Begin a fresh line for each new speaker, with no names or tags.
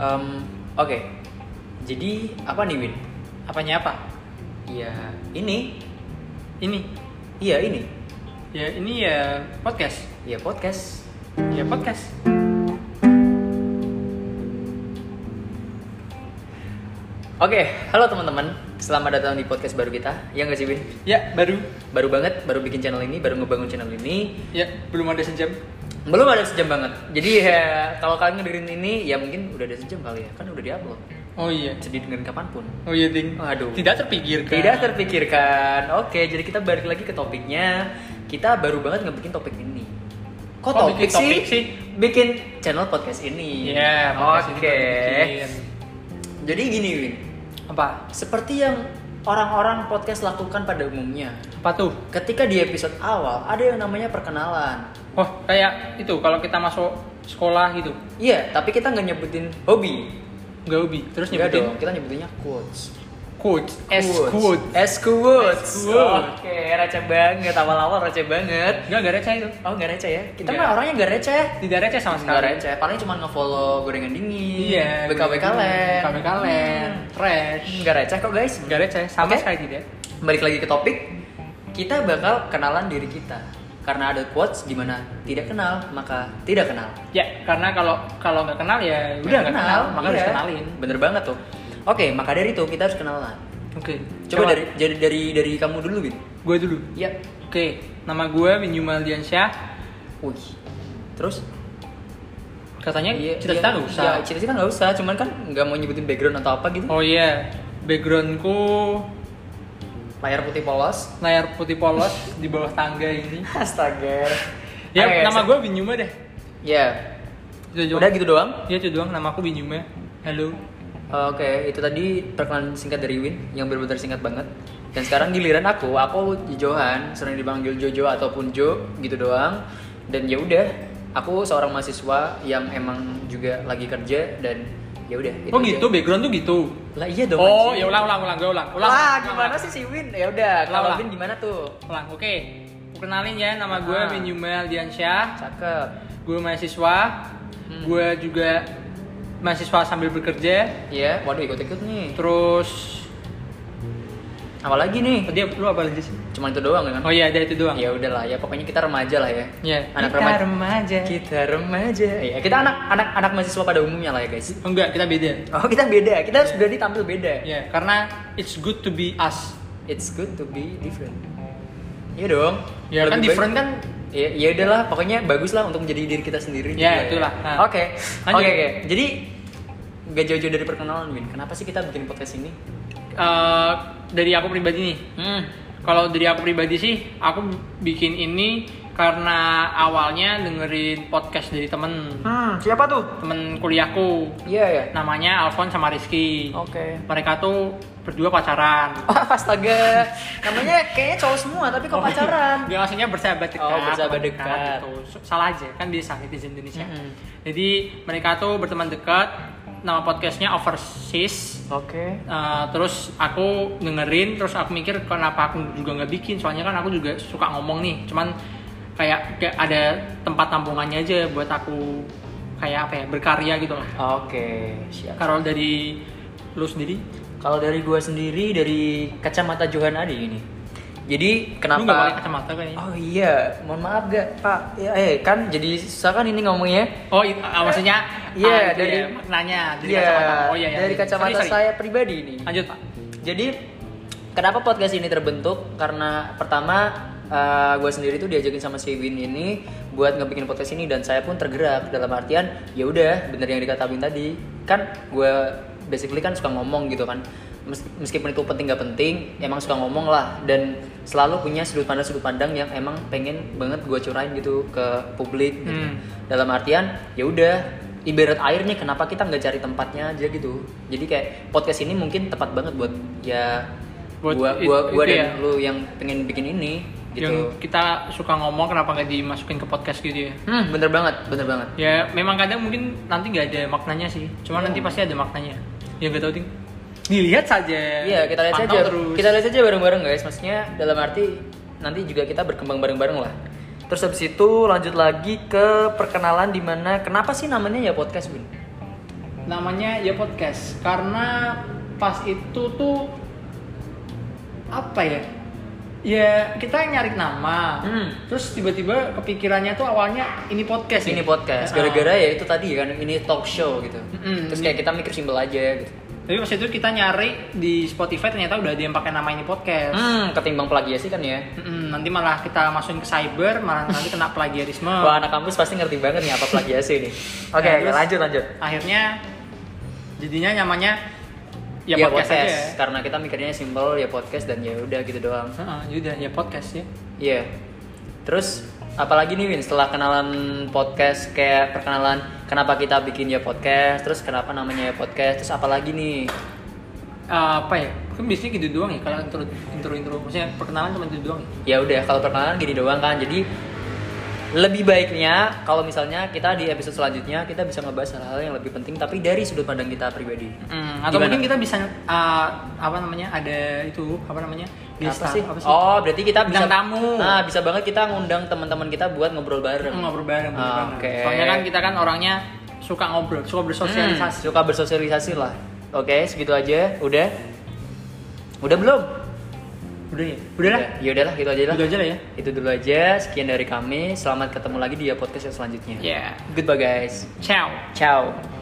Em, Oke, jadi apa nih Win?
Apanya apa?
Ya ini,
Iya. Ini.
iya ini,
Ya ini ya podcast.
ya podcast.
Ya podcast.
Oke, halo teman-teman, selamat datang di podcast baru kita. Ya nggak sih Win?
Ya baru.
Baru banget, baru bikin channel ini, baru ngebangun channel ini.
Ya belum ada sejam.
Belum ada sejam banget. Jadi ya, kalau kalian dengerin ini, ya mungkin udah ada sejam kali ya, kan udah diupload.
Oh iya.
Jadi dengerin kapanpun.
Oh iya ding.
Aduh.
Tidak terpikirkan.
Tidak terpikirkan. Oke, jadi kita balik lagi ke topiknya. Kita baru banget ngebikin topik ini. Kok,
Kok
topik,
bikin topik
sih?
sih?
Bikin channel podcast ini.
Iya. podcast
Oke.
ini baru bikin.
Jadi gini, Win.
Apa?
Seperti yang orang-orang podcast lakukan pada umumnya.
Apa tuh?
Ketika di episode awal ada yang namanya perkenalan.
Oh kayak itu kalau kita masuk sekolah gitu.
Iya, tapi kita nggak nyebutin hobi.
Nggak ubi. Terus
Nggak
nyebutin
dong, kita nyebutinnya quotes.
quotes. S quotes.
S quotes.
S quotes.
Oke, receh banget. Awal-awal receh banget.
Nggak nggak receh itu.
Oh nggak receh ya? Kita
Nggak.
mah orangnya nggak receh. ya?
Tidak receh sama sekali.
Nggak receh, paling cuma ngefollow gorengan dingin,
Iya.
BKW kalian,
BKW kalian. Trash.
Hmm. Nggak receh kok guys.
Nggak receh sama
Oke.
sekali tidak.
Balik lagi ke topik, kita bakal kenalan diri kita. Karena ada quotes di mana tidak kenal maka tidak kenal.
Ya, karena kalau kalau nggak kenal ya udah nggak kenal, maka harus
iya.
kenalin.
Bener banget tuh. Oke, maka dari itu kita harus kenalan.
Oke,
Coba, dari jadi dari dari kamu dulu, Bin.
gue dulu.
Iya.
Oke, nama gue Winyu Maldiansyah.
Wih. Terus?
Katanya
Iya,
cita-cita
iya.
nggak usah.
Iya, cita-cita nggak usah. Cuman kan nggak mau nyebutin background atau apa gitu.
Oh iya, backgroundku
Layar putih polos.
layar putih polos di bawah tangga ini.
Astaga.
Ya,
Oke,
nama
se-
gue Winyuma deh.
Ya.
Itu doang.
Udah gitu doang.
Iya, itu doang. Nama aku Winyuma. Halo.
Oke, itu tadi perkenalan singkat dari Win yang benar-benar singkat banget. Dan sekarang giliran aku, aku Johan, sering dipanggil Jojo ataupun Jo gitu doang. Dan ya udah, aku seorang mahasiswa yang emang juga lagi kerja dan ya udah. itu
Oh
aja.
gitu, background tuh gitu.
Lah iya dong.
Oh,
anjing.
ya ulang, ulang, ulang, gue ulang. Ulang.
Lah,
ulang,
gimana
ulang.
sih si Win? Ya udah,
Ulang,
kalau
ulang.
Win gimana tuh?
Ulang, oke. Kenalin ya, nama gue
Ah.
Winyuma Aldiansyah.
Cakep.
gue mahasiswa
Hmm.
gue juga mahasiswa sambil bekerja
Ya, waduh ikut-ikut nih.
terus
Apa lagi nih?
tadi lu apa lagi sih
Cuman itu doang kan?
oh iya ada itu doang
Ya udahlah, ya pokoknya kita remaja lah ya.
Iya.
Anak
kita
remaja.
remaja
Kita remaja. Ya, kita anak anak anak mahasiswa pada umumnya lah ya guys.
Oh, enggak kita beda
Oh kita beda, kita harus berani tampil beda.
ya karena it's good to be us
It's good to be different. Iya dong.
ya kan
Lebih
different
baik-
kan
Ya, ya udahlah, pokoknya bagus lah untuk menjadi diri kita sendiri.
Ya,
juga
itulah. Nah.
Oke,
Lanjut.
oke, oke. Jadi gak jauh-jauh dari perkenalan Win. Kenapa sih kita bikin podcast ini?
eh, dari aku pribadi nih
Hmm.
kalau dari aku pribadi sih aku bikin ini karena awalnya dengerin podcast dari temen
Hmm, siapa tuh?
temen kuliahku
Iya ya.
namanya Alfon sama Rizky
Oke.
mereka tuh berdua pacaran
Oh, astaga. Namanya kayaknya cowok semua tapi kok pacaran.
Dia maksudnya bersahabat dekat.
Oh, bersahabat dekat. Mm-hmm.
gitu. Salah aja, kan biasa netizen Indonesia.
Mm-mm.
Jadi mereka tuh berteman dekat. Nama podcastnya Overseas.
Oke.
Uh, terus aku dengerin, terus aku mikir kenapa aku juga nggak bikin. Soalnya kan aku juga suka ngomong nih. Cuman kayak kayak ada tempat tampungannya aja buat aku kayak apa ya berkarya gitu lah.
Oke, siap.
Karol dari lu sendiri,
Kalau dari gua sendiri dari kacamata Johan Adi ini. Jadi
lu nggak pakai
kenapa?
kacamata kan kayaknya.
Oh iya, mohon maaf gak Pak? Ya, eh kan jadi susah kan ini ngomongnya.
Oh, itu, ah, maksudnya
Iya,
ah, itu
dari-
ya, maknanya dari
Iya,
kacamata. Oh iya, iya.
dari
Sorry,
kacamata
sorry.
saya pribadi ini.
Lanjut, Pak.
Jadi kenapa podcast ini terbentuk? Karena pertama gue sendiri tuh diajakin sama si Win ini buat ngebikin podcast ini dan saya pun tergerak dalam artian ya udah bener yang dikatain tadi kan gue basically kan suka ngomong gitu kan Mes- meskipun itu penting gak penting emang suka ngomong lah dan selalu punya sudut pandang sudut pandang yang emang pengen banget gue curahin gitu ke publik gitu.
Hmm.
dalam artian ya udah ibarat air nih kenapa kita nggak cari tempatnya aja gitu jadi kayak podcast ini mungkin tepat banget buat ya
Buat
gua
it-
gua gua
itu
dan
ya.
lu yang pengen bikin ini
Yang
gitu
kita suka ngomong kenapa nggak dimasukin ke podcast gitu ya?
hmm bener banget bener banget
Ya memang kadang mungkin nanti nggak ada maknanya sih. Cuma nanti pasti ada maknanya. Ya nggak tahu ting. Hmm. Dilihat saja.
iya kita lihat
Pantau
saja
Terus.
kita lihat saja bareng-bareng guys maksudnya dalam arti nanti juga kita berkembang bareng-bareng lah terus habis itu lanjut lagi ke perkenalan dimana kenapa sih namanya ya podcast Win
namanya ya podcast karena pas itu tuh apa ya ya kita nyari nama
Hmm.
terus tiba-tiba kepikirannya tuh awalnya ini podcast ya?
Ini podcast. Gara-gara ya itu tadi kan ini talk show gitu.
Mm-mm,
Terus
ini-
kayak kita mikir simbol aja gitu.
tapi pas itu kita nyari di Spotify ternyata udah ada yang pakai nama ini podcast
Hmm, ketimbang plagiasi kan ya.
Mm-mm, nanti malah kita masukin ke cyber malah nanti kena plagiarisme
Wah, anak kampus pasti ngerti banget nih apa plagiasi nih. Oke,
Nah, terus-
lanjut lanjut.
akhirnya jadinya nyamannya ya,
Ya,
podcast,
podcast,
aja
karena kita mikirnya simple ya podcast dan ya udah gitu doang.
Heeh, ya udah ya podcast ya
Iya. Terus apalagi nih Win setelah kenalan podcast kayak perkenalan kenapa kita bikin ya podcast, terus kenapa namanya ya podcast, terus apalagi nih?
Eh, apa ya kan biasanya gitu doang ya kalau intro intro intro maksudnya perkenalan cuma itu doang ya
Ya udah kalau perkenalan gini doang kan. Jadi lebih baiknya kalau misalnya kita di episode selanjutnya kita bisa ngebahas hal-hal yang lebih penting tapi dari sudut pandang kita pribadi.
Mm, atau
Gimana?
mungkin kita bisa eh, apa namanya ada itu apa namanya
apa
guest star,
sih?
apa sih?
Oh,
Ah.
berarti kita bisa
Bintang tamu. Hmm,
Nah, bisa banget kita ngundang teman-teman kita buat ngobrol bareng.
ngobrol bareng
Ah,
ngobrol bareng.
oke.
soalnya kan kita kan orangnya suka ngobrol suka bersosialisasi
Hmm, suka bersosialisasi lah. Oke, segitu aja. Udah? Udah belum?
udah ya udahlah
Ya udahlah, gitu aja lah.
udah aja lah ya
Itu dulu aja. Sekian dari kami. Selamat ketemu lagi di podcast yang selanjutnya.
ya
Goodbye guys.
ciao
Ciao.